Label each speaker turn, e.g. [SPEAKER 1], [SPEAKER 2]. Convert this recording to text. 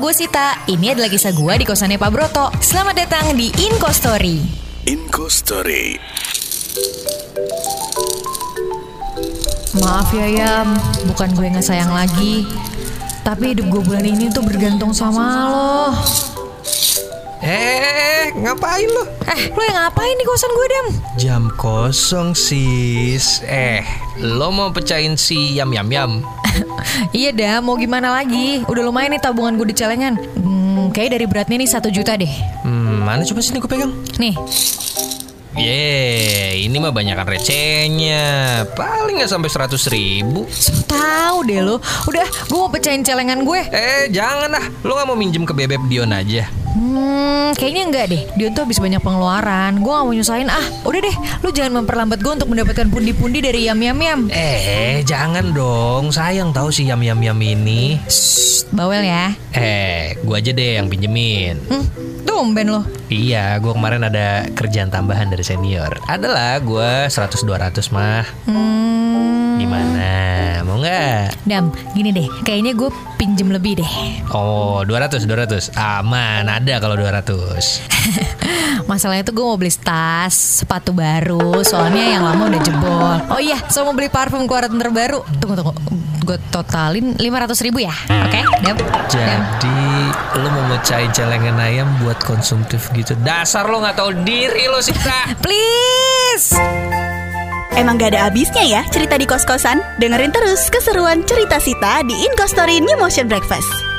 [SPEAKER 1] gue Sita. Ini adalah kisah gue di kosannya Pak Broto. Selamat datang di Inko Story.
[SPEAKER 2] Inco Story.
[SPEAKER 1] Maaf ya Yam, bukan gue nggak sayang lagi. Tapi hidup gue bulan ini tuh bergantung sama lo.
[SPEAKER 3] Eh, ngapain lo?
[SPEAKER 1] Eh, lo yang ngapain di kosan gue, Dam?
[SPEAKER 3] Jam kosong sis. Eh, lo mau pecahin si yam yam yam?
[SPEAKER 1] iya Dam, mau gimana lagi? Udah lumayan nih tabungan gue di celengan. Hmm, kayak dari beratnya nih satu juta deh.
[SPEAKER 3] Hmm, mana coba sini gue pegang.
[SPEAKER 1] Nih,
[SPEAKER 3] Ye, ini mah banyakan recehnya. Paling nggak sampai seratus ribu.
[SPEAKER 1] so tau deh lo. Udah, gue mau pecahin celengan gue.
[SPEAKER 3] Eh, jangan lah. Lo nggak mau minjem ke bebek Dion aja?
[SPEAKER 1] Hmm, kayaknya enggak deh. Dia tuh habis banyak pengeluaran. Gue gak mau nyusahin. Ah, udah deh. Lu jangan memperlambat gue untuk mendapatkan pundi-pundi dari Yam Yam Yam.
[SPEAKER 3] Eh, jangan dong. Sayang tahu si yam yam yam ini.
[SPEAKER 1] Shh, bawel ya.
[SPEAKER 3] Eh, gue aja deh yang pinjemin.
[SPEAKER 1] Hmm, tumben lo.
[SPEAKER 3] Iya, gue kemarin ada kerjaan tambahan dari senior. Adalah gue 100-200 mah.
[SPEAKER 1] Hmm,
[SPEAKER 3] Gimana? Mau nggak?
[SPEAKER 1] Dam, gini deh. Kayaknya gue pinjem lebih deh.
[SPEAKER 3] Oh, 200, 200. Aman, ada kalau 200.
[SPEAKER 1] Masalahnya tuh gue mau beli tas, sepatu baru. Soalnya yang lama udah jebol. Oh iya, so mau beli parfum keluaran terbaru. Tunggu, tunggu. Gue totalin 500 ribu ya. Oke, Dam. Dam.
[SPEAKER 3] Jadi, lu mau mecahin celengan ayam buat konsumtif gitu. Dasar lu nggak tahu diri lu, Sita.
[SPEAKER 1] Please.
[SPEAKER 4] Emang gak ada habisnya ya cerita di kos-kosan? Dengerin terus keseruan cerita Sita di Inkostory New Motion Breakfast.